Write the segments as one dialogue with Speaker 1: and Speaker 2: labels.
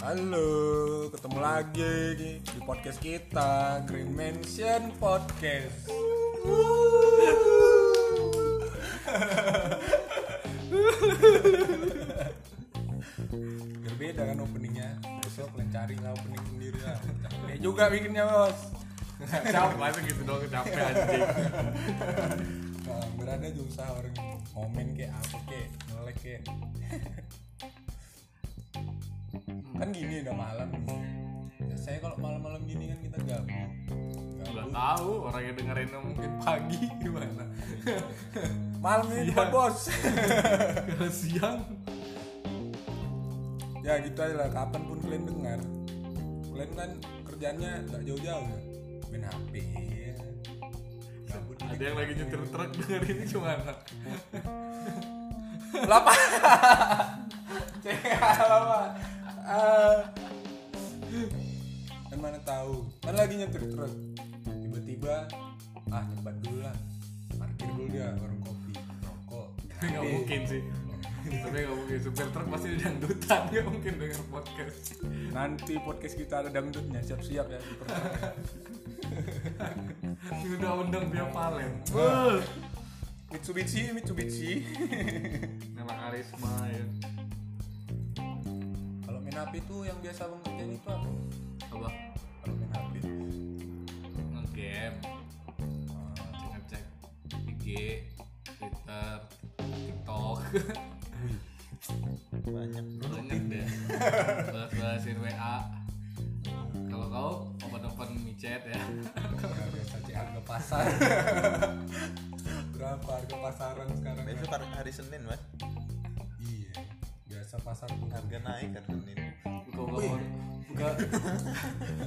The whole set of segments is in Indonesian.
Speaker 1: Halo, ketemu lagi di podcast kita Green Mansion Podcast. Berbeda kan openingnya Besok kalian cari lah opening sendiri lah Capek juga bikinnya bos
Speaker 2: Siapa masa gitu dong capek anjing.
Speaker 1: nah, Berada juga usaha orang Komen kek, apa kek, ngelek kek Kan gini udah malam Ya, Saya kalau malam-malam gini kan kita gabut
Speaker 2: Udah
Speaker 1: Gabut.
Speaker 2: tahu orang yang dengerin mungkin pagi gimana.
Speaker 1: Malam ini buat bos
Speaker 2: Kalau siang
Speaker 1: ya gitu aja lah kapanpun kalian dengar kalian kan kerjanya nggak jauh-jauh ya main HP gabut
Speaker 2: ada yang lagi nyetir truk dengerin gimana?
Speaker 1: lapa cek lapa Ah. kan mana tahu kan lagi nyetir truk tiba-tiba ah nyebat dulu lah parkir dulu dia warung kopi rokok
Speaker 2: Nggak
Speaker 1: Tapi-
Speaker 2: mungkin sih. Tapi nggak mungkin supir truk pasti dangdutan nggak mungkin denger podcast.
Speaker 1: nanti podcast kita ada dangdutnya siap-siap ya di perut.
Speaker 2: Udah undang dia palen. Wah.
Speaker 1: Mitsubishi Mitsubishi
Speaker 2: Memang karisma ya.
Speaker 1: Kalau main HP itu yang biasa abang kerjain itu apa?
Speaker 2: Apa?
Speaker 1: Kalau main HP
Speaker 2: Ngegame. Eh, Cek ngecek IG, Twitter, TikTok.
Speaker 3: banyak
Speaker 2: Banyak deh. Bahas-bahasin WA. Kalau kau open-open micet ya.
Speaker 1: ya, biasa cek harga pasar. Berapa harga pasaran sekarang?
Speaker 3: besok hari, hari Senin mas
Speaker 1: Iya. Biasa pasar pun harga.
Speaker 3: harga naik kan Senin
Speaker 2: Buka-buka forum. Buka.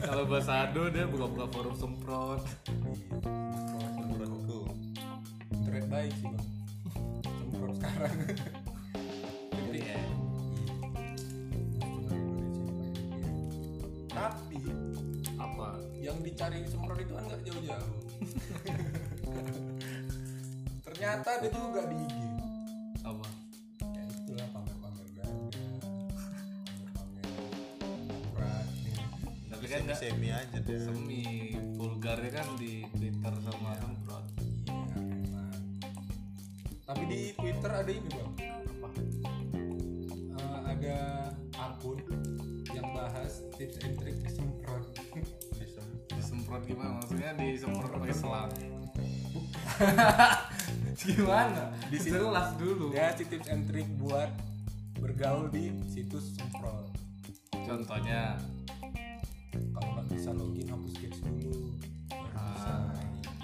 Speaker 2: Kalau bahasa Ado dia buka-buka forum semprot.
Speaker 1: Iya.
Speaker 3: menurutku
Speaker 1: Internet baik sih bang. Semprot sekarang. iya.
Speaker 2: Jadi ya.
Speaker 1: Tapi
Speaker 2: Apa?
Speaker 1: yang dicari semprot itu kan nggak jauh-jauh. Ternyata dia juga di IG.
Speaker 2: Apa?
Speaker 1: ya itulah pamer-pamer ganda pamer-pamer murah ya.
Speaker 2: Tapi kan
Speaker 3: semi
Speaker 2: nggak
Speaker 3: semi aja deh
Speaker 2: semi vulgarnya kan di Twitter sama semprot.
Speaker 1: iya memang tapi di twitter ada ini bang
Speaker 2: Apa?
Speaker 1: Eh, ada akun yang bahas tips and trick semprot
Speaker 3: di sem-
Speaker 2: Disemprot gimana? Maksudnya disemprot pakai selang. gimana?
Speaker 1: Di situ.
Speaker 2: Diselas dulu.
Speaker 1: dia si tips and trick buat bergaul di situs semprot
Speaker 2: Contohnya
Speaker 1: kalau nggak bisa login hapus cache dulu Baru bisa.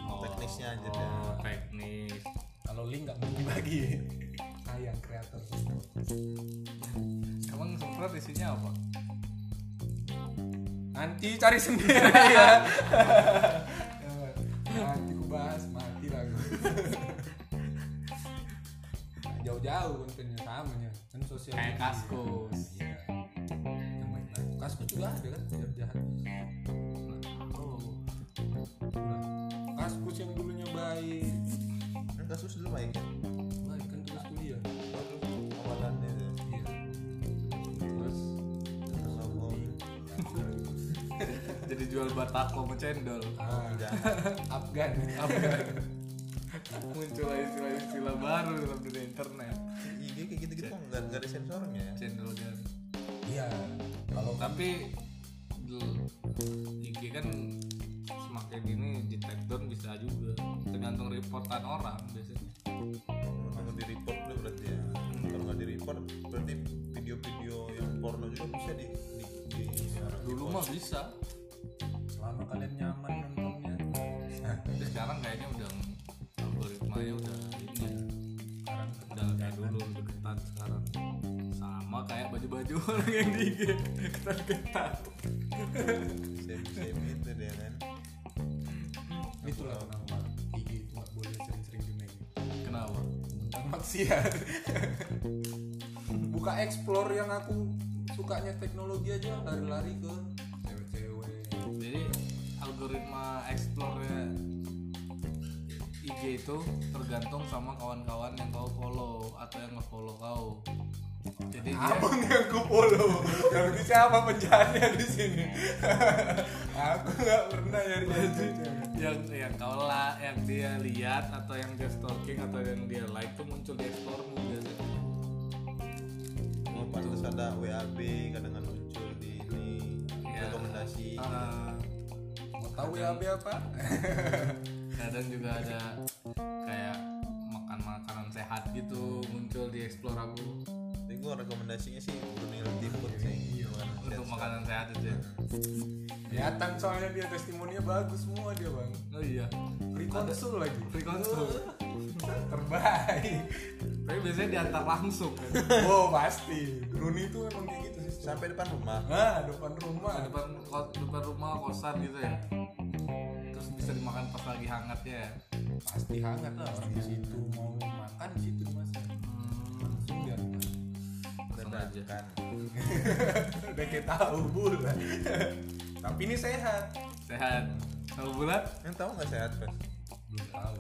Speaker 2: oh,
Speaker 3: teknisnya aja
Speaker 2: oh,
Speaker 3: deh
Speaker 2: teknis.
Speaker 1: kalau link nggak mau dibagi sayang kreator semprot
Speaker 2: Emang semprot isinya apa?
Speaker 1: Nanti cari sendiri ya. Nanti ku bahas mati lah gua. Nggak Jauh-jauh kontennya sama ya. Kan sosial media.
Speaker 2: Kayak kaskus.
Speaker 1: Iya. Yang baik-baik. Kaskus juga ada kan jahat jahat.
Speaker 2: Oh.
Speaker 1: Kaskus yang dulunya baik.
Speaker 3: kan kasus dulu baik kan
Speaker 1: Baik kan terus kuliah.
Speaker 3: baru awalannya deh
Speaker 1: Iya. Terus
Speaker 3: terus apa
Speaker 2: Jadi jual batako sama cendol.
Speaker 1: ah,
Speaker 3: enggak
Speaker 1: Afgan.
Speaker 2: Muncul istilah-istilah baru dalam dunia internet.
Speaker 3: IG kayak gitu gitu enggak enggak ada sensornya ya
Speaker 2: Cendol dan
Speaker 1: Iya. Kalau
Speaker 2: tapi l- IG kan semakin ini di take down bisa juga tergantung reportan orang biasanya
Speaker 3: kalau di report dulu berarti ya kalau nggak di report berarti video-video yang porno juga bisa di di, di,
Speaker 2: dulu mah bisa
Speaker 1: selama kalian nyaman Nah, nontonnya.
Speaker 2: tapi sekarang kayaknya udah algoritmanya udah ini ya,
Speaker 1: Sekarang
Speaker 2: udah kayak dulu lebih ketat sekarang sama kayak baju-baju orang yang di IG ketat-ketat
Speaker 3: semi semi itu deh kan
Speaker 1: itulah kenapa gigi itu nggak boleh sering-sering dimainin
Speaker 2: kenapa
Speaker 1: tentang maksiat buka explore yang aku sukanya teknologi aja lari-lari ke cewek-cewek
Speaker 2: jadi algoritma explore IG IG itu tergantung sama kawan-kawan yang kau follow atau yang nge-follow kau. Jadi dia
Speaker 1: Abang yang ku follow. Berarti siapa penjahatnya di sini? Aku nggak pernah nyari nyari.
Speaker 2: yang yang kau la, yang dia lihat atau yang dia stalking atau yang dia like tuh muncul di explore-mu biasanya.
Speaker 3: Oh, pantas ada WAB kadang-kadang kan muncul di ini
Speaker 2: Ya.
Speaker 3: rekomendasi
Speaker 2: Ah,
Speaker 1: Mau tahu ya apa apa?
Speaker 2: kadang juga ada kayak makan makanan sehat gitu muncul di explore aku
Speaker 3: Tapi gua rekomendasinya sih Brunei Timur sih.
Speaker 2: Iya.
Speaker 3: Gimana?
Speaker 2: untuk makanan sehat itu. ya.
Speaker 1: Kelihatan soalnya dia testimoninya bagus semua dia bang.
Speaker 2: Oh iya,
Speaker 1: Free konsul lagi.
Speaker 2: free consult.
Speaker 1: Terbaik.
Speaker 2: Tapi biasanya diantar langsung kan.
Speaker 1: Oh pasti. Bruni itu emang kayak gitu sih.
Speaker 3: Sampai depan rumah.
Speaker 1: Nah depan rumah.
Speaker 2: depan ko- depan rumah kosan gitu ya terus bisa dimakan pas lagi hangatnya ya
Speaker 1: pasti hangat lah orang di situ mau makan di situ mas
Speaker 2: Hmm.
Speaker 1: langsung dia
Speaker 2: langsung aja
Speaker 3: Kan.
Speaker 1: udah kayak tahu bulan tapi ini sehat
Speaker 2: sehat tahu bulat
Speaker 3: Yang tahu nggak sehat, Pes?
Speaker 1: belum tahu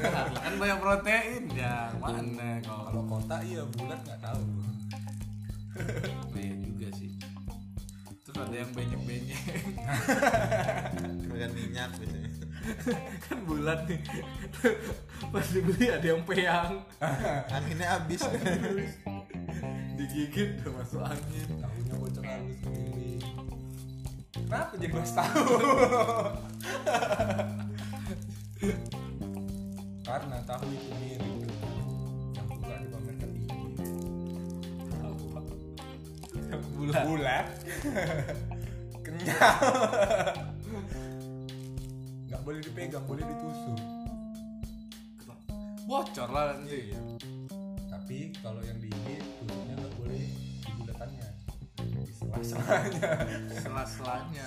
Speaker 2: sehat lah kan banyak protein ya mana
Speaker 1: kalau
Speaker 2: kalau
Speaker 1: kota iya bulat nggak tahu
Speaker 2: banyak juga sih terus ada yang banyak banyak
Speaker 3: Makan minyak gitu ya. biasanya.
Speaker 2: kan bulat nih pas dibeli ada yang peyang
Speaker 3: Anginnya habis.
Speaker 2: digigit udah masuk angin
Speaker 1: tahunya bocor halus sendiri Hmm. kenapa jadi bahas tahu karena tahu itu mirip yang suka dipamerkan di IG.
Speaker 2: bulat
Speaker 1: bulat kenyal nggak boleh dipegang boleh ditusuk
Speaker 2: bocor lah nanti
Speaker 1: tapi kalau yang di IG tusuknya nggak boleh di bulatannya di sela-selanya
Speaker 2: sela-selanya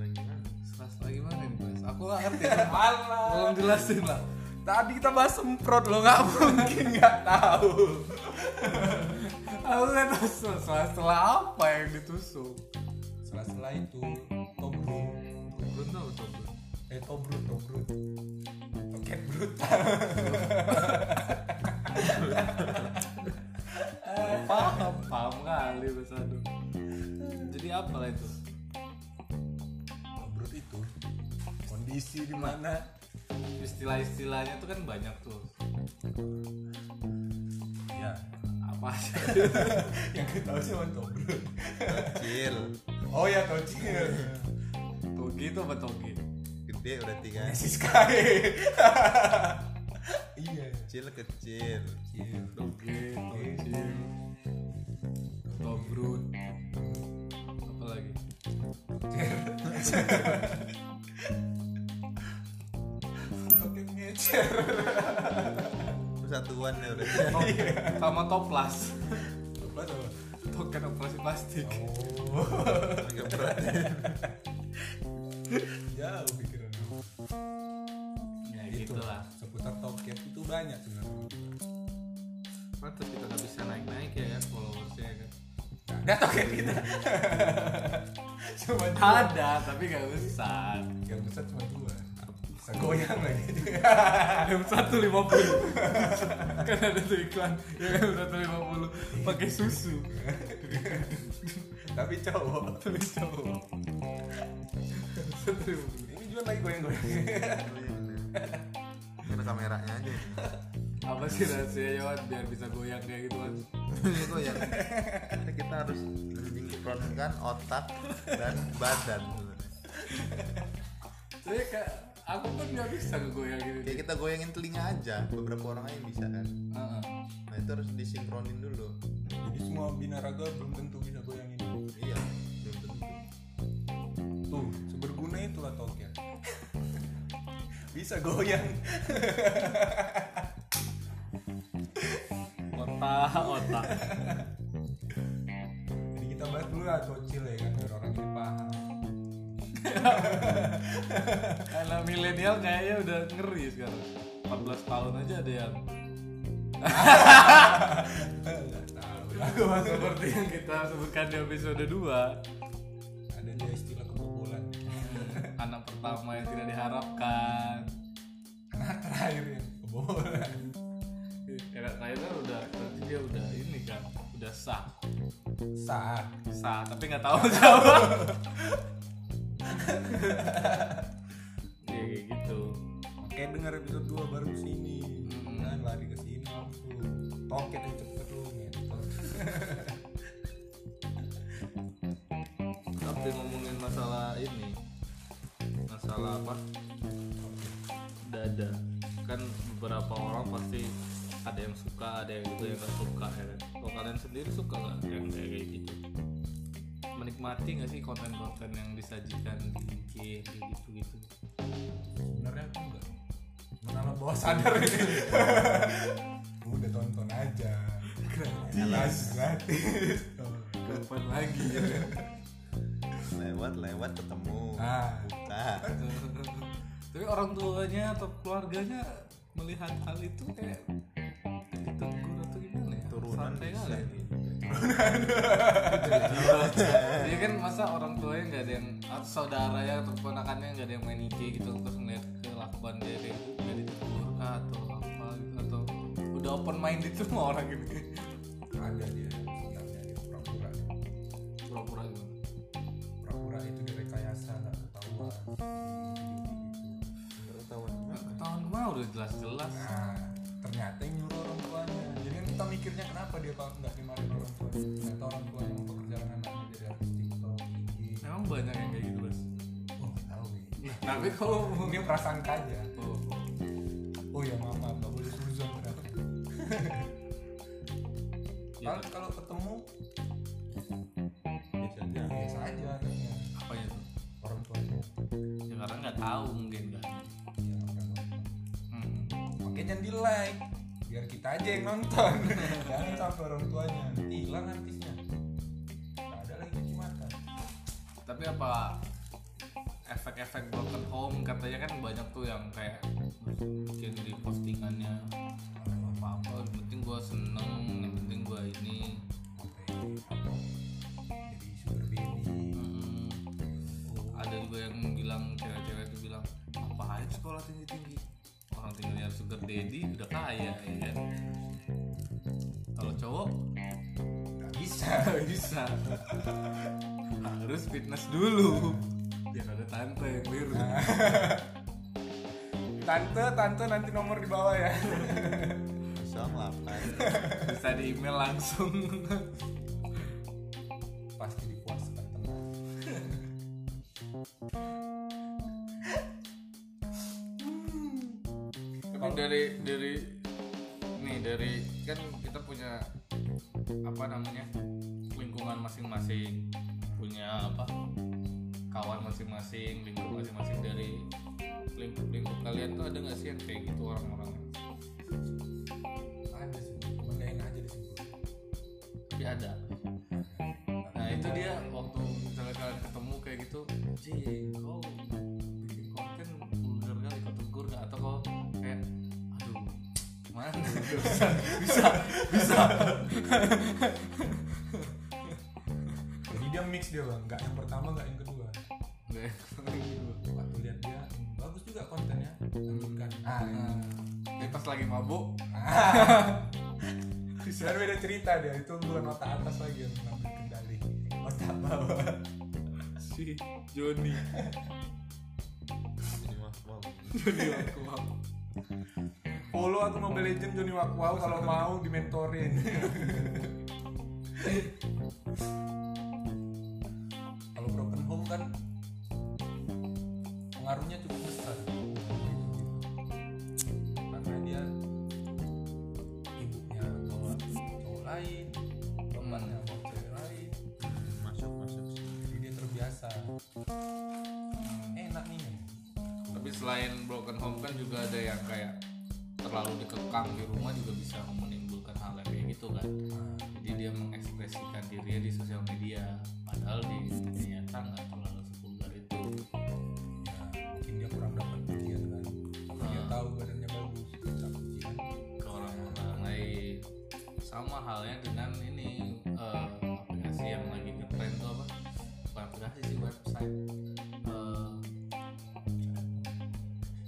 Speaker 3: Lagi mana?
Speaker 2: sela-sela gimana nih guys aku gak ngerti belum jelasin lah
Speaker 1: tadi kita bahas semprot lo nggak mungkin nggak tahu
Speaker 2: Aku gak tahu sel- setelah setelah apa yang ditusuk.
Speaker 1: sela-sela itu tobrut
Speaker 2: Belum tahu coba.
Speaker 1: eh tobrut tobrut toket brut
Speaker 2: Paham, paham kali Mas Adu. Jadi apa lah itu?
Speaker 1: tobrut itu kondisi di mana
Speaker 2: Istilah-istilahnya tuh kan banyak tuh.
Speaker 1: ya
Speaker 2: Apa aja?
Speaker 1: yang kita tahu cuma tobrut
Speaker 3: Kecil.
Speaker 1: oh ya tocil
Speaker 2: Togi itu apa togi?
Speaker 3: Gede berarti kan.
Speaker 1: Messi Sky iya
Speaker 3: Kecil kecil.
Speaker 2: Togi, togi. Tobrut. Apa lagi?
Speaker 1: Toket ngecer
Speaker 3: Persatuan ya berarti.
Speaker 2: Top, sama toplas.
Speaker 1: Apa tuh?
Speaker 2: Token operasi plastik.
Speaker 1: Oh
Speaker 3: Agak berat.
Speaker 1: Jauh pikiran aku.
Speaker 2: Ya gitu lah.
Speaker 1: Seputar toket itu banyak sebenarnya
Speaker 2: Pantas Kan kita gak bisa naik-naik ya kan followersnya ya kan.
Speaker 1: Nggak Ada toket kita Cuma dua
Speaker 2: Ada, tapi gak besar.
Speaker 1: Yang besar cuma dua Bisa goyang lagi
Speaker 2: M satu lima puluh kan ada tuh iklan yang M satu lima puluh pakai susu
Speaker 1: Tapi cowok Tapi cowok Ini juga lagi goyang-goyang
Speaker 3: Ini Ada kameranya aja.
Speaker 2: apa sih rahasianya Wan biar bisa goyang kayak gitu kan
Speaker 3: Itu ya. Ini Kita harus menyinkronkan otak dan badan.
Speaker 2: tapi kayak aku kan nggak bisa ngegoyang gitu
Speaker 3: Kayak kita goyangin telinga aja. Beberapa orang aja yang bisa kan.
Speaker 2: Heeh.
Speaker 3: Nah itu harus disinkronin dulu.
Speaker 1: Jadi semua binaraga belum tentu bisa goyang ini
Speaker 3: Iya. belum tentu.
Speaker 1: Tuh, seberguna itulah toket. Bisa goyang.
Speaker 2: otak otak
Speaker 1: Jadi kita bahas dulu lah tocil ya kan biar orang ini paham.
Speaker 2: karena milenial kayaknya udah ngeri sekarang 14 tahun aja ada yang
Speaker 1: Nggak tahu lah.
Speaker 2: seperti yang kita sebutkan di episode 2
Speaker 1: Ada dia istilah kebobolan.
Speaker 2: anak pertama yang tidak diharapkan
Speaker 1: akhirnya ya, kebobolan
Speaker 2: era Tyler kan udah berarti dia udah ini kan udah sah
Speaker 1: saat
Speaker 2: sah tapi nggak tahu siapa ya kayak gitu
Speaker 1: Oke denger episode 2 baru kesini
Speaker 2: Hmm.
Speaker 1: Nah lari ke sini langsung Toket yang cepet gitu. lu ngentot
Speaker 2: tapi ngomongin masalah ini masalah apa dada kan beberapa orang pasti ada yang suka ada yang gitu yang gak suka ya kan? kalau kalian sendiri suka nggak yang kayak kayak gitu menikmati nggak sih konten-konten yang disajikan di IG gitu gitu
Speaker 1: Sebenernya aku enggak Menambah bawah sadar ini Udah tonton aja Gratis Gratis Kapan lagi ya
Speaker 3: lewat lewat ketemu Nah,
Speaker 1: Ah.
Speaker 3: buka
Speaker 2: gitu. tapi orang tuanya atau keluarganya melihat hal itu kayak ditegur atau gimana ya
Speaker 3: turunan
Speaker 2: santai
Speaker 3: bisa
Speaker 2: kali
Speaker 3: nih
Speaker 2: Iya kan masa orang tuanya nggak ada yang atau saudaranya atau keponakannya nggak ada yang main IG gitu terus ngeliat kelakuan dia kayak gitu, nggak ditegur kah, atau apa gitu atau udah open minded semua orang gitu
Speaker 1: Ada dia sebenarnya dia pura-pura
Speaker 2: pura-pura gitu
Speaker 1: Pura-pura itu dia rekayasa gak ketahuan
Speaker 3: ketahuan gimana?
Speaker 2: tahun mah udah jelas-jelas
Speaker 1: Nah ternyata yang nyuruh orang tuanya Jadi kan kita mikirnya kenapa dia kalau nggak dimarahin orang tuanya Ternyata orang tuanya yang pekerjaan anaknya jadi harus TikTok, IG
Speaker 2: emang banyak yang kayak gitu bas
Speaker 3: Nah,
Speaker 1: Oh nggak tahu ya
Speaker 2: tapi kalau
Speaker 3: oh,
Speaker 1: Ini prasangka aja
Speaker 2: oh,
Speaker 1: Oh ya maaf maaf nggak boleh suzon berapa
Speaker 3: iya.
Speaker 2: ya,
Speaker 1: Kalau kalau ketemu
Speaker 3: biasa aja
Speaker 1: biasa aja anaknya
Speaker 2: apa ya tuh
Speaker 1: orang tuanya
Speaker 2: ya karena nggak tahu mungkin kan
Speaker 1: Iya, orang tuanya.
Speaker 2: hmm.
Speaker 1: Oke jangan di like biar kita aja yang nonton jangan sampai orang tuanya nanti hilang artisnya nggak ada lagi cuci mata
Speaker 2: tapi apa efek-efek broken home katanya kan banyak tuh yang kayak bikin di postingannya apa apa yang penting gue seneng yang penting gue ini
Speaker 1: Sampai jadi sugar baby
Speaker 2: Mm-mm. ada juga yang bilang cewek-cewek itu bilang ngapain sekolah tinggi-tinggi orang tinggalnya sugar daddy udah kaya ya kan kalau cowok
Speaker 1: nggak bisa
Speaker 2: nggak bisa harus fitness dulu biar ada tante yang biru
Speaker 1: tante tante nanti nomor di bawah ya
Speaker 3: bisa melakukan
Speaker 2: bisa di email langsung
Speaker 1: pasti dipuaskan teman
Speaker 2: tapi dari dari nih dari kan kita punya apa namanya lingkungan masing-masing punya apa kawan masing-masing lingkup masing-masing dari lingkup lingkup kalian tuh ada nggak sih yang kayak gitu orang-orang
Speaker 1: ada sih mandain aja disebut
Speaker 2: tapi ada nah itu dia waktu misalnya kalian ketemu kayak gitu Ji, kau bikin konten vulgar kali kau tegur gak? atau kau kayak aduh mana bisa bisa bisa
Speaker 1: jadi dia mix dia bang nggak yang pertama nggak yang kedua
Speaker 2: Nggak, gitu.
Speaker 1: waktu lihat dia hmm, bagus juga kontennya lanjutkan ah,
Speaker 2: nah, dia pas lagi mabuk
Speaker 1: bisa beda cerita dia itu bukan otak atas lagi yang mengambil kendali otak bawah
Speaker 2: si Joni
Speaker 3: jadi mah mau
Speaker 2: Joni aku mabuk
Speaker 1: follow aku Mobile Legend Johnny Wakwau kalau mau dimentorin kalau broken home kan pengaruhnya cukup besar karena dia ibunya bawa cowok lain temannya bawa cewek lain
Speaker 3: masuk masuk
Speaker 1: jadi dia terbiasa enak nih
Speaker 2: tapi selain broken home kan juga ada yang kayak terlalu dikekang di rumah juga bisa menimbulkan hal yang kayak gitu kan jadi dia mengekspresikan dirinya di sosial media padahal di dunia nyata nggak terlalu sepulgar itu
Speaker 1: ya mungkin dia kurang dapat pujian kan tapi dia
Speaker 2: Ah.
Speaker 1: tahu badannya bagus minta pujian
Speaker 2: ke orang-orang lain sama halnya dengan ini eh, aplikasi yang lagi ngetrend tuh apa bukan aplikasi sih website eh,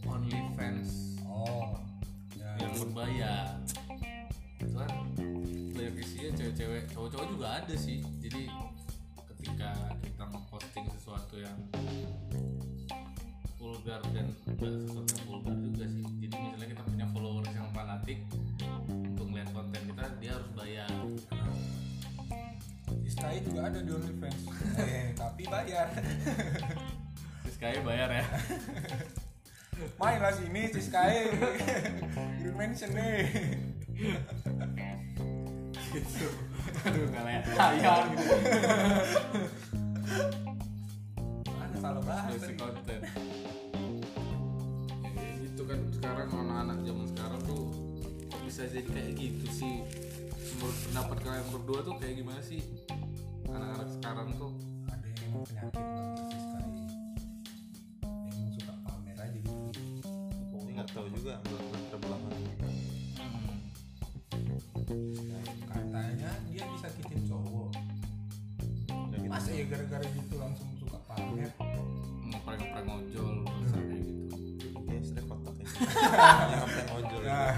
Speaker 2: OnlyFans
Speaker 1: oh
Speaker 2: Surabaya cuman banyak isinya cewek-cewek cowok-cowok juga ada sih jadi ketika kita memposting sesuatu yang vulgar dan enggak sesuatu yang vulgar juga sih jadi misalnya kita punya followers yang fanatik untuk melihat konten kita dia harus bayar
Speaker 1: Istai juga ada di OnlyFans eh, tapi bayar
Speaker 2: Siskae bayar ya
Speaker 1: main lah sini Ciskai Green Mansion nih
Speaker 2: gitu aduh nggak layak bayar gitu
Speaker 1: mana salah bahas
Speaker 2: Basic
Speaker 1: tadi
Speaker 2: konten Ya, kayak gitu kan sekarang anak-anak zaman sekarang tuh kok bisa jadi kayak gitu sih menurut pendapat kalian berdua tuh kayak gimana sih anak-anak sekarang tuh
Speaker 1: ada yang emang penyakit banget sih Ciskai yang suka pamer aja gitu
Speaker 3: Ini nggak tahu juga latar belakang
Speaker 1: katanya dia bisa kitin cowok
Speaker 3: Dan kita-
Speaker 1: masa ya gara-gara gitu langsung suka pamer
Speaker 2: mau prank-prank ojol besar kayak gitu
Speaker 3: Ya, sudah kotak ya. Yang ngapain ojol.
Speaker 1: nah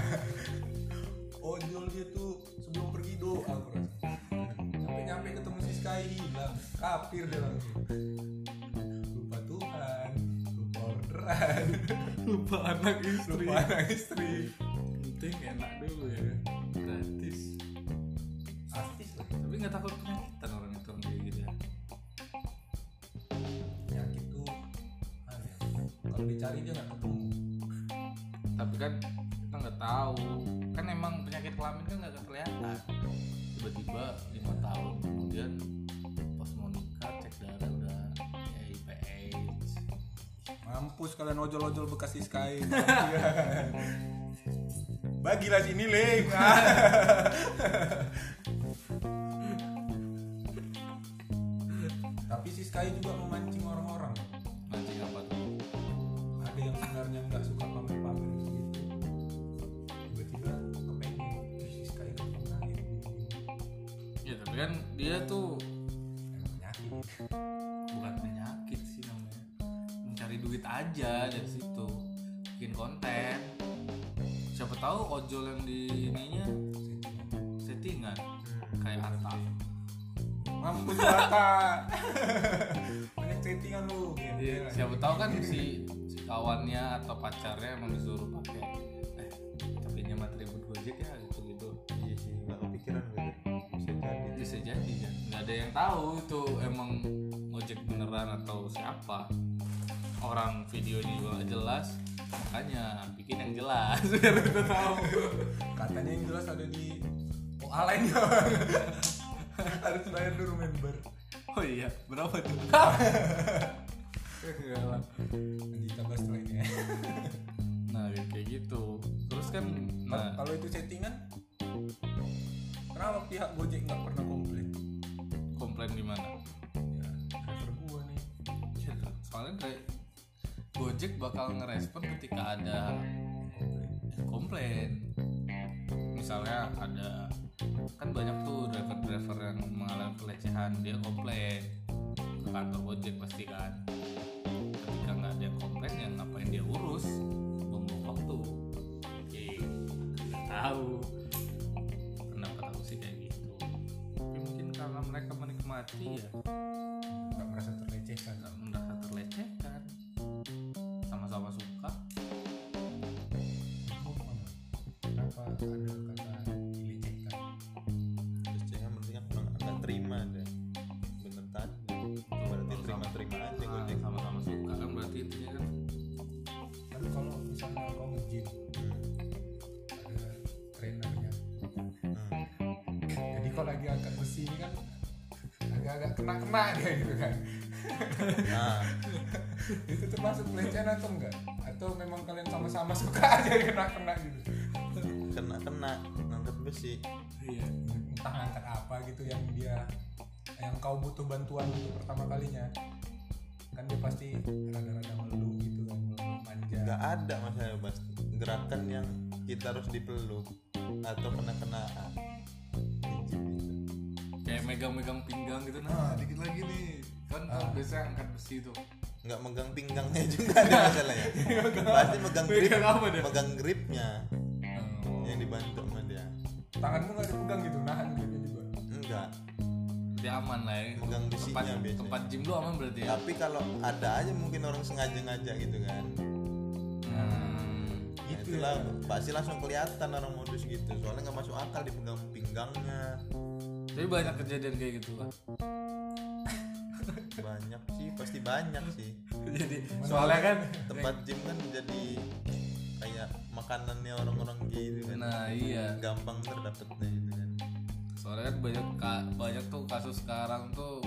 Speaker 1: ojol dia tuh sebelum pergi doa bro. sampai nyampe ketemu si Sky hilang kafir dia langsung lupa Tuhan lupa orderan
Speaker 2: lupa anak istri
Speaker 1: lupa anak istri
Speaker 2: penting enak dulu ya gratis
Speaker 1: artis lah
Speaker 2: tapi nggak takut penyakitan orang itu orang kayak gitu ya
Speaker 1: penyakit tuh aneh. kalau dicari dia nggak ketemu
Speaker 2: tapi kan kita nggak tahu kan emang penyakit kelamin kan nggak kelihatan tiba-tiba lima tahun kemudian pas mau nikah cek darah udah HIV AIDS
Speaker 1: mampus kalian ojol-ojol bekas si Sky Kalian. bagilah sini link Ah. tapi si Sky juga memancing orang-orang
Speaker 2: nanti apa tuh
Speaker 1: ada yang sebenarnya nggak suka pamer-pamer gitu tiba-tiba kepengen "Ih, si Sky nggak pernah ya
Speaker 2: ya tapi kan dia tuh
Speaker 1: penyakit
Speaker 2: bukan penyakit sih namanya mencari duit aja dari situ bikin konten siapa tahu ojol yang di ininya settingan kayak harta
Speaker 1: mampus rata banyak chattingan lu
Speaker 2: Iya, siapa tahu kan si, si kawannya atau pacarnya emang disuruh pakai eh tapi nyama ribu gojek ya gitu gitu
Speaker 3: Iya sih, nggak kepikiran gue. Bisa jadi.
Speaker 2: bisa jadi kan nggak ada yang tahu itu emang ojek beneran atau siapa orang videonya juga nggak jelas makanya bikin yang jelas biar kita tahu
Speaker 1: katanya yang jelas ada di OA lain ya harus bayar dulu member
Speaker 2: oh iya berapa tuh Enggak lah.
Speaker 1: nanti kita bahas setelah ini ya
Speaker 2: nah kayak gitu terus kan
Speaker 1: Kalau-
Speaker 2: nah
Speaker 1: kalau itu settingan kenapa pihak Gojek nggak pernah komplain
Speaker 2: komplain di mana
Speaker 1: ya driver gua nih
Speaker 2: Ya, soalnya dari Gojek bakal ngerespon ketika ada
Speaker 1: komplain
Speaker 2: komplain misalnya ada kan banyak tuh driver-driver yang mengalami pelecehan dia komplain ke kantor Gojek pasti kan ketika nggak ada yang komplain ya ngapain dia urus buang-buang waktu oke nggak tahu kenapa tahu sih kayak gitu tapi mungkin karena mereka menikmati ya
Speaker 1: nggak merasa terlecehkan
Speaker 2: nggak merasa terlecehkan sama-sama suka
Speaker 1: Lu gimana? kenapa ada kata dilecehkan
Speaker 3: Terus jangan mendingan kurang nggak terima deh. Bener tadi. Berarti terima-terima aja
Speaker 2: Nah,
Speaker 3: gue.
Speaker 2: sama-sama suka kan berarti intinya kan
Speaker 1: kan kalau misalnya kau nge-gym ada trainernya
Speaker 3: Hmm.
Speaker 1: jadi kalau lagi angkat besi ini kan agak-agak kena-kena dia gitu kan
Speaker 3: Nah,
Speaker 1: itu termasuk pelecehan atau enggak atau memang kalian sama-sama suka aja kena-kena gitu
Speaker 3: kena kena ngangkat besi.
Speaker 2: iya
Speaker 1: entah angkat apa gitu yang dia yang kau butuh bantuan untuk pertama kalinya kan dia pasti rada-rada melulu gitu kan melulu manja
Speaker 3: Nggak ada masalah bas. Gerakan yang kita harus dipeluk atau Gitu, kena kenaan.
Speaker 2: kayak megang-megang pinggang gitu nah dikit lagi nih kan biasanya biasa angkat besi tuh
Speaker 3: Nggak megang pinggangnya juga ada masalahnya. Pasti megang grip,
Speaker 2: Megang apa dia?
Speaker 3: megang gripnya.
Speaker 2: Oh,
Speaker 3: yang dibantu sama dia
Speaker 1: tanganmu nggak dipegang gitu nahan gitu juga
Speaker 3: enggak
Speaker 2: Berarti aman lah ya.
Speaker 3: Pegang besinya
Speaker 2: Tempat,
Speaker 3: biasanya.
Speaker 2: tempat gym lu aman berarti ya.
Speaker 3: tapi kalau ada aja mungkin orang sengaja ngajak gitu kan
Speaker 2: Hmm.
Speaker 3: Nah, itulah pasti langsung kelihatan orang modus gitu soalnya nggak masuk akal dipegang pinggangnya
Speaker 2: Tapi banyak kejadian kayak gitu lah.
Speaker 3: banyak sih pasti banyak sih
Speaker 2: Jadi soalnya kan
Speaker 3: tempat gym kan jadi kayak makanannya orang-orang gitu kan
Speaker 2: Nah iya.
Speaker 3: gampang terdapatnya gitu kan
Speaker 2: Soalnya kan banyak ka- banyak tuh kasus sekarang tuh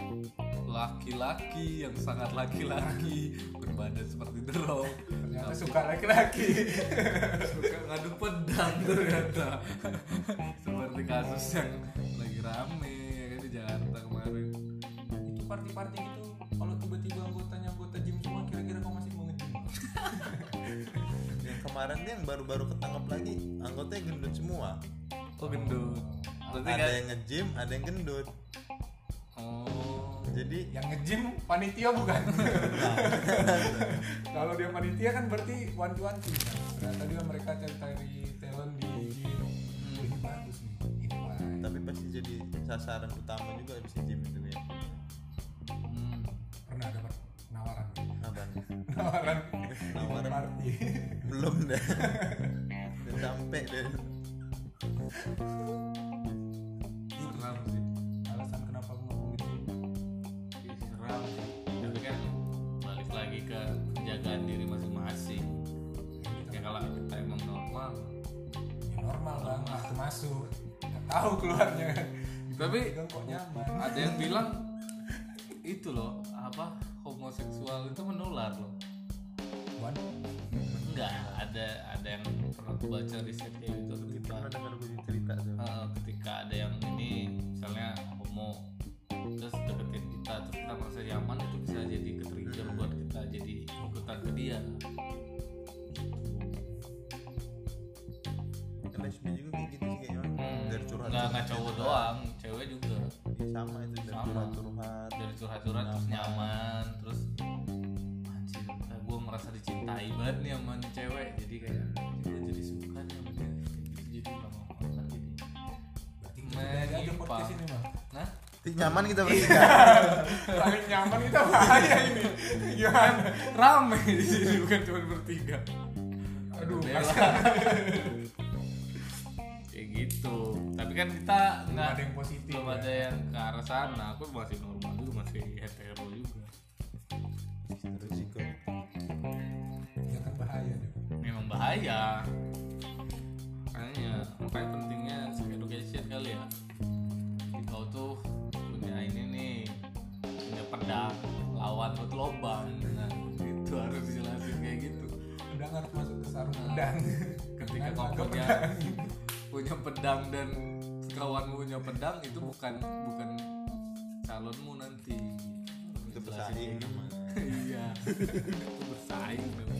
Speaker 2: laki-laki yang sangat laki-laki berbadan seperti derong
Speaker 1: ternyata suka laki-laki
Speaker 2: suka ngadu pedang ternyata seperti kasus yang lagi rame ya kan di Jakarta kemarin
Speaker 1: itu party-party gitu kalau tiba-tiba anggotanya anggota gym semua kira-kira kau masih mau nge-gym
Speaker 3: yang kemarin tuh yang baru-baru ketangkap lagi anggotanya gendut semua
Speaker 2: oh gendut berarti
Speaker 3: ada
Speaker 2: kan
Speaker 3: yang nge-gym ada yang gendut
Speaker 2: oh
Speaker 3: jadi
Speaker 1: yang nge-gym panitia bukan kalau dia panitia kan berarti one to one team kan? ternyata dia mereka cari cari talent di di oh, ini bagus nih ini baik
Speaker 3: tapi pasti jadi sasaran utama juga di gym itu ya
Speaker 2: hmm.
Speaker 1: pernah ada per- nawaran
Speaker 3: Apaan?
Speaker 1: nawaran
Speaker 3: Nawaran.
Speaker 1: party
Speaker 3: belum deh Udah sampai deh
Speaker 2: seram sih
Speaker 1: alasan kenapa aku gitu? nggak mau nge-gym
Speaker 2: Ih, seram sih tapi kan balik lagi ke penjagaan diri masing-masing ya kalau kita emang normal
Speaker 1: ya normal bang aku masuk nggak tahu keluarnya
Speaker 2: tapi
Speaker 1: pegang kok nyaman
Speaker 2: ada yang bilang itu loh apa homoseksual itu menular loh
Speaker 1: Wan,
Speaker 2: enggak ada ada yang pernah aku baca riset kayak gitu ketika
Speaker 3: pernah dengar gue cerita tuh
Speaker 2: eh, ketika ada yang ini misalnya homo terus deketin kita terus kita merasa nyaman itu bisa jadi ketrigger buat kita jadi ikutan ke dia
Speaker 3: LSB juga kayak gitu sih kayaknya
Speaker 2: Hmm,
Speaker 3: dari curhat
Speaker 2: nggak nggak cowok doang cewek juga
Speaker 3: Iya, sama itu dari
Speaker 2: Sama. Iya.
Speaker 3: curhat curhat
Speaker 2: dari curhat-curhat terus nyaman terus anjir gue merasa dicintai banget nih sama nih cewek jadi kayak gue jadi suka nih sama dia Kayak gitu. jadi nggak mau kontak jadi
Speaker 1: berarti kita udah ada aja
Speaker 2: Menyimpang.
Speaker 1: podcast ini bang
Speaker 2: nah
Speaker 3: nyaman kita
Speaker 2: Iya.
Speaker 3: bertiga
Speaker 1: paling nyaman kita bahaya ini
Speaker 2: Iya.
Speaker 1: gimana
Speaker 2: Kan rame di sini bukan cuma bertiga
Speaker 1: aduh
Speaker 2: Bella. kayak gitu tapi kan kita
Speaker 1: nggak
Speaker 2: nggak
Speaker 1: ada yang positif
Speaker 2: belum
Speaker 1: ya.
Speaker 2: ada yang ke arah sana aku masih normal juga masih hetero juga
Speaker 3: terus sih kok
Speaker 1: ya kan bahaya deh
Speaker 2: memang bahaya makanya makanya pentingnya sex education kali ya Jadi kau tuh punya ini nih punya pedang lawan buat lobang nah itu harus dijelasin kayak gitu
Speaker 1: udah harus masuk ke sarung
Speaker 2: Nah,
Speaker 1: pedang
Speaker 2: ketika
Speaker 1: Karena
Speaker 2: kau
Speaker 1: agak
Speaker 2: punya
Speaker 1: pedang.
Speaker 2: punya pedang dan kawanmu punya pedang itu bukan bukan calonmu nanti
Speaker 3: itu
Speaker 2: Jelasin
Speaker 3: pesaing namanya
Speaker 2: iya itu bersaing memang.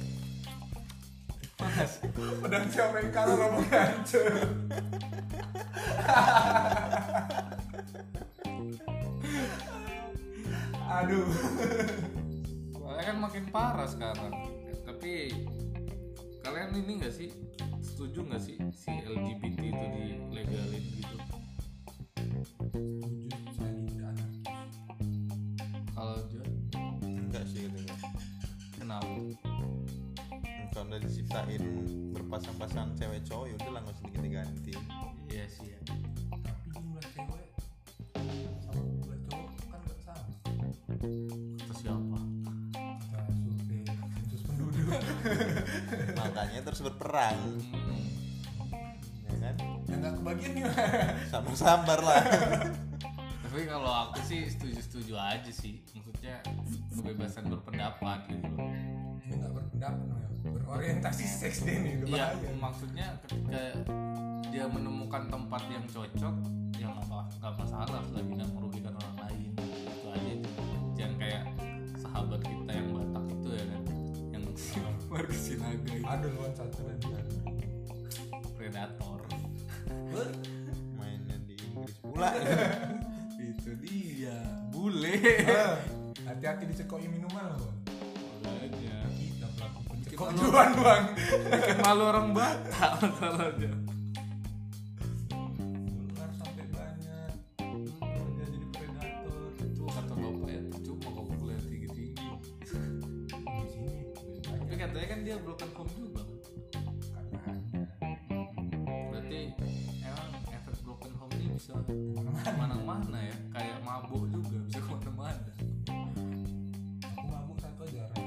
Speaker 2: Mas,
Speaker 1: pedang siapa yang kalah sama hancur aduh
Speaker 2: Soalnya kan makin parah sekarang. Eh, Tapi kalian ini nggak sih setuju nggak sih si LGBT itu dilegalin gitu?
Speaker 1: jujur saya tidak ada
Speaker 2: Kalau Jo,
Speaker 3: enggak sih gitu kan
Speaker 2: kenapa?
Speaker 3: kalau udah diciptain berpasang-pasang cewek cowok ya udah langsung sedikit diganti
Speaker 2: Iya sih ya.
Speaker 1: tapi jumlah cewek sama jumlah cowok kan gak sama
Speaker 2: Terus siapa?
Speaker 1: kita survei sensus penduduk
Speaker 3: makanya terus berperang
Speaker 2: Hmm.
Speaker 3: ya kan
Speaker 1: yang gak kebagian nih
Speaker 3: sama sabar lah
Speaker 2: Tapi kalau aku sih setuju-setuju aja sih. Maksudnya kebebasan berpendapat gitu loh.
Speaker 1: ini gak berpendapat nih berorientasi seks deh nih udah
Speaker 2: Iya,
Speaker 1: bahaya.
Speaker 2: maksudnya ketika dia menemukan tempat yang cocok, ya nggak apa- nggak masalah selagi nggak merugikan orang lain. Itu aja itu. Jangan kayak sahabat kita yang Batak itu ya kan, yang warga Sinaga itu
Speaker 1: ada lawan satu lagi
Speaker 2: predator.
Speaker 3: mainnya di Inggris pula
Speaker 2: itu dia, bule.
Speaker 1: Ah, hati-hati dicekoki minuman loh
Speaker 2: Makanya
Speaker 1: kita pelaku pencekokan
Speaker 2: malu-
Speaker 1: duluan bang
Speaker 2: bikin malu orang Batak masalahnya. kan dia belum confirm juga kan?
Speaker 1: Katanya.
Speaker 2: berarti emang efek broken home ini bisa kemana-mana ya kayak mabuk juga bisa kemana-mana
Speaker 1: Aku mabuk satu aja Ran.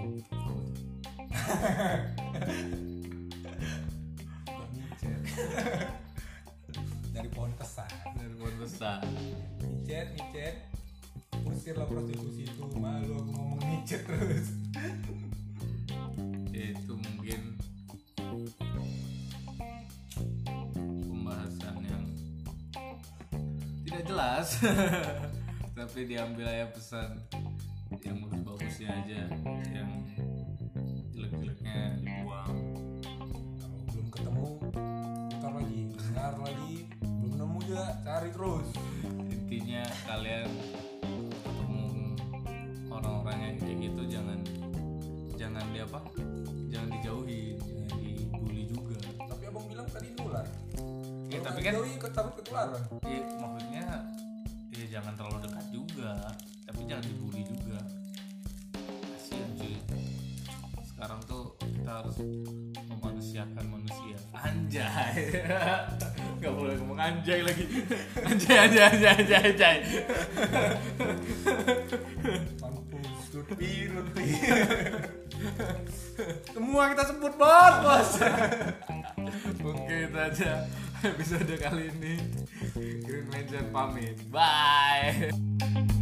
Speaker 1: Gak micet Dari pohon kesan
Speaker 2: dari pohon besar
Speaker 1: Micet, micet Usirlah prostitusi itu Malu aku ngomong micet terus
Speaker 2: itu mungkin pembahasan yang tidak jelas tapi diambil aja pesan yang bagus-bagusnya aja yang jelek-jeleknya dibuang
Speaker 1: Kalau Belum ketemu Ntar lagi, dengar lagi Belum nemu juga, cari terus
Speaker 2: intinya kalian ketemu orang-orang yang kayak gitu jangan jangan di apa jangan dijauhi jangan dibully juga
Speaker 1: Tapi abang bilang tadi nular
Speaker 2: ya,
Speaker 1: Kalau
Speaker 2: tapi
Speaker 1: nggak
Speaker 2: kan
Speaker 1: dijauhi, ke- takut ketularan
Speaker 2: ya, maksudnya ya jangan terlalu dekat juga tapi jangan dibully juga kasian cuy sekarang tuh kita harus memanusiakan manusia anjay nggak boleh ngomong anjay lagi anjay anjay anjay anjay, anjay.
Speaker 1: Mampus, Lutfi, Lutfi Semua kita sebut bos, bos
Speaker 2: Oke itu aja episode kali ini Green Ranger pamit Bye